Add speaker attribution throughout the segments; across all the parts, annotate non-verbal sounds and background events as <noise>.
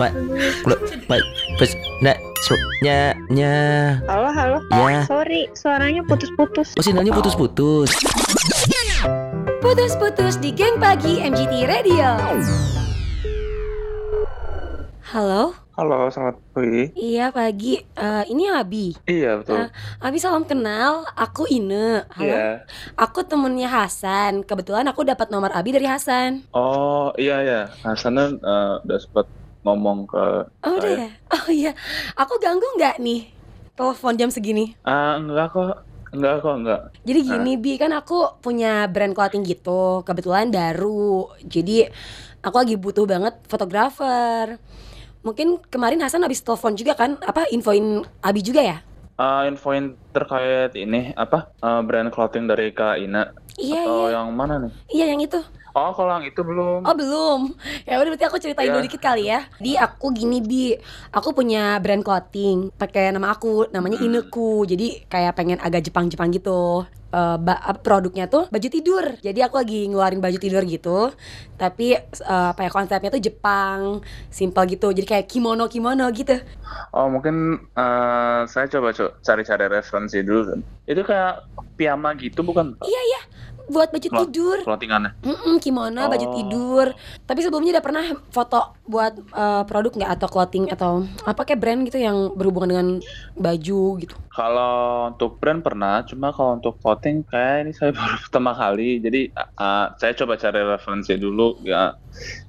Speaker 1: pak lo pak pes nak su, nya nya
Speaker 2: Halo, halo.
Speaker 1: Ya.
Speaker 2: Sorry, suaranya putus-putus.
Speaker 1: oh sinyalnya putus putus
Speaker 3: Putus-putus di geng pagi MGT Radio. Halo,
Speaker 4: Halo, selamat pagi.
Speaker 3: iya pagi. Eh, ini Abi.
Speaker 4: Iya, betul.
Speaker 3: Ah, Abi salam kenal. Aku Ine. Halo.
Speaker 4: Iya.
Speaker 3: Aku temennya Hasan. Kebetulan aku dapat nomor Abi dari Hasan.
Speaker 4: Oh, iya ya. Hasannya eh, udah sempat ngomong ke
Speaker 3: Oh udah
Speaker 4: Saya.
Speaker 3: ya. Oh iya. Aku ganggu nggak nih? Telepon jam segini.
Speaker 4: Ah, enggak kok. Enggak kok, enggak.
Speaker 3: Jadi gini Bi, kan aku punya brand clothing gitu, kebetulan baru. Jadi aku lagi butuh banget fotografer. Mungkin kemarin Hasan habis telepon juga kan, apa infoin Abi juga ya?
Speaker 4: Ah, infoin terkait ini apa? Eh, brand clothing dari Kak Ina
Speaker 3: Iya,
Speaker 4: atau
Speaker 3: iya.
Speaker 4: yang mana nih?
Speaker 3: Iya, yang itu.
Speaker 4: Oh, kalau yang itu belum.
Speaker 3: Oh, belum. Ya udah berarti aku ceritain
Speaker 4: Iya.
Speaker 3: dulu dikit kali ya. Di aku gini Bi, aku punya brand clothing pakai nama aku, namanya
Speaker 4: Hmm.
Speaker 3: Ineku. Jadi kayak pengen agak Jepang-Jepang gitu. Eh, ba- apa, produknya tuh baju tidur. Jadi aku lagi ngeluarin baju tidur gitu. Tapi eh, apa ya konsepnya tuh Jepang, simple gitu. Jadi kayak kimono-kimono gitu.
Speaker 4: Oh, mungkin eh, saya coba co- cari-cari referensi dulu kan. Itu kayak piyama gitu bukan? Kak?
Speaker 3: Iya, iya. Buat baju
Speaker 4: Wah.
Speaker 3: tidur.
Speaker 4: Clothingannya.
Speaker 3: Mm-mm, kimono, baju
Speaker 4: Oh.
Speaker 3: tidur. Tapi sebelumnya udah pernah foto buat eh, produk nggak atau clothing atau apa kayak brand gitu yang berhubungan dengan baju gitu.
Speaker 4: Kalau untuk brand pernah, cuma kalau untuk clothing kayak ini saya <laughs> baru pertama kali. Jadi uh, uh, saya coba cari referensi dulu ya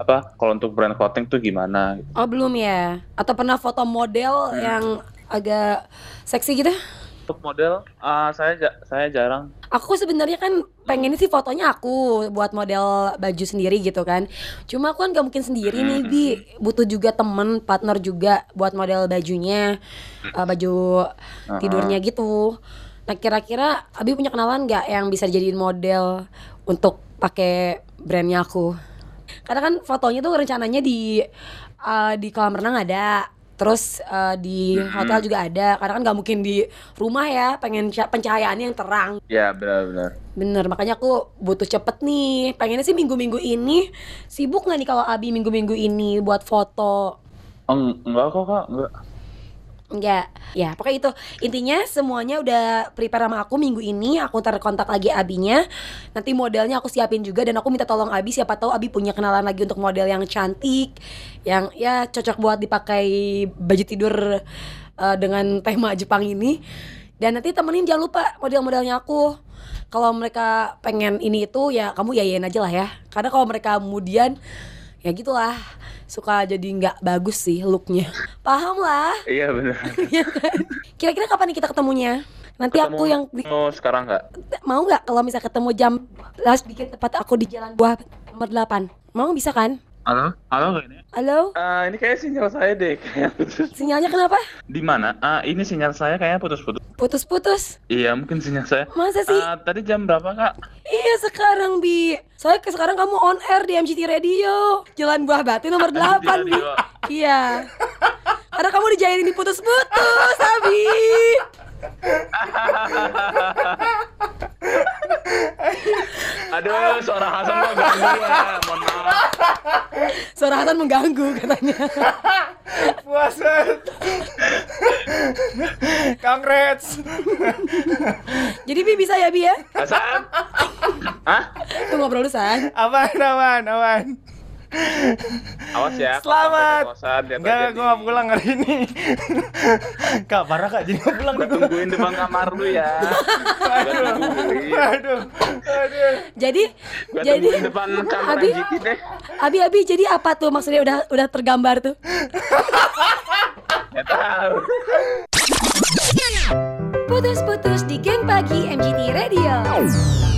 Speaker 4: apa kalau untuk brand clothing tuh gimana?
Speaker 3: Oh belum ya? Atau pernah foto model yang agak seksi gitu?
Speaker 4: Untuk model uh, saya ja- saya jarang.
Speaker 3: Aku sebenarnya kan pengen sih fotonya aku buat model baju sendiri gitu kan. Cuma aku kan gak mungkin sendiri nih Bi, butuh juga temen, partner juga buat model bajunya, eh, baju
Speaker 4: Uh-uh.
Speaker 3: tidurnya gitu. Nah kira-kira Abi punya kenalan nggak yang bisa dijadiin model untuk pakai brandnya aku? Karena kan fotonya tuh rencananya di eh, di kolam renang ada, terus eh, di hotel juga ada. Karena kan nggak mungkin di rumah ya, pengen ca- pencahayaannya yang terang.
Speaker 4: Ya benar-benar.
Speaker 3: Bener, makanya aku butuh cepet nih. Pengennya sih minggu-minggu ini sibuk nggak nih kalau Abi minggu-minggu ini buat foto?
Speaker 4: Eng- enggak kok kak, enggak.
Speaker 3: Enggak, ya pokoknya itu Intinya semuanya udah prepare sama aku minggu ini Aku ntar kontak lagi Abinya Nanti modelnya aku siapin juga Dan aku minta tolong Abi Siapa tahu Abi punya kenalan lagi untuk model yang cantik Yang ya cocok buat dipakai baju tidur eh, Dengan tema Jepang ini Dan nanti temenin jangan lupa model-modelnya aku Kalau mereka pengen ini itu ya kamu yayain aja lah ya Karena kalau mereka kemudian ya gitulah Suka jadi nggak bagus sih looknya Paham lah
Speaker 4: Iya benar.
Speaker 3: Iya kan? Kira-kira kapan nih kita ketemunya? Nanti aku yang di-
Speaker 4: oh, sekarang enggak?
Speaker 3: mau nggak kalau misalnya ketemu jam last dikit tepat aku di jalan buah nomor 8 mau bisa kan?
Speaker 4: Halo, halo kak ini.
Speaker 3: Halo,
Speaker 4: Ah, ini kayak sinyal saya deh <laughs> kayak gitu. putus.
Speaker 3: sinyalnya kenapa?
Speaker 4: Di mana? Ah, ini sinyal saya kayaknya putus-putus.
Speaker 3: Putus-putus.
Speaker 4: Iya mungkin sinyal saya.
Speaker 3: Masa sih?
Speaker 4: Ah, tadi jam berapa kak?
Speaker 3: Iya sekarang Bi. Soalnya ke- sekarang kamu on air di MGT Radio. Jalan Buah
Speaker 4: <laughs>
Speaker 3: Batu nomor 8 Bi.
Speaker 4: Radio.
Speaker 3: Iya. Karena kamu dijailin di putus-putus, Abi.
Speaker 4: Aduh, suara Hasan kok ganggu ya. Mohon maaf.
Speaker 3: Suara Hasan mengganggu katanya.
Speaker 5: Puasa. Kang Reds.
Speaker 3: Jadi Bi bisa ya Bi ya?
Speaker 4: Hasan.
Speaker 3: Tuh ngobrol dulu, San.
Speaker 5: Aman, aman, aman.
Speaker 4: Awas ya. kalau
Speaker 5: Selamat.
Speaker 4: sampai keceplosan, dia
Speaker 5: Enggak,
Speaker 4: terjadi.
Speaker 5: gue gak pulang hari ini. Kak, parah kak, jadi gak pulang
Speaker 4: Gua
Speaker 5: nih
Speaker 4: tungguin depan kamar lu
Speaker 5: <laughs>
Speaker 4: ya. Gua
Speaker 5: gue.
Speaker 4: tungguin.
Speaker 5: Aduh, aduh.
Speaker 3: Jadi
Speaker 4: Gua
Speaker 3: jadi
Speaker 4: tungguin depan kamar
Speaker 3: Abi
Speaker 4: MGT deh.
Speaker 3: Abi Abi jadi apa tuh maksudnya udah udah tergambar tuh.
Speaker 4: Nggak tahu.
Speaker 3: Putus-putus di geng pagi MGT Radio.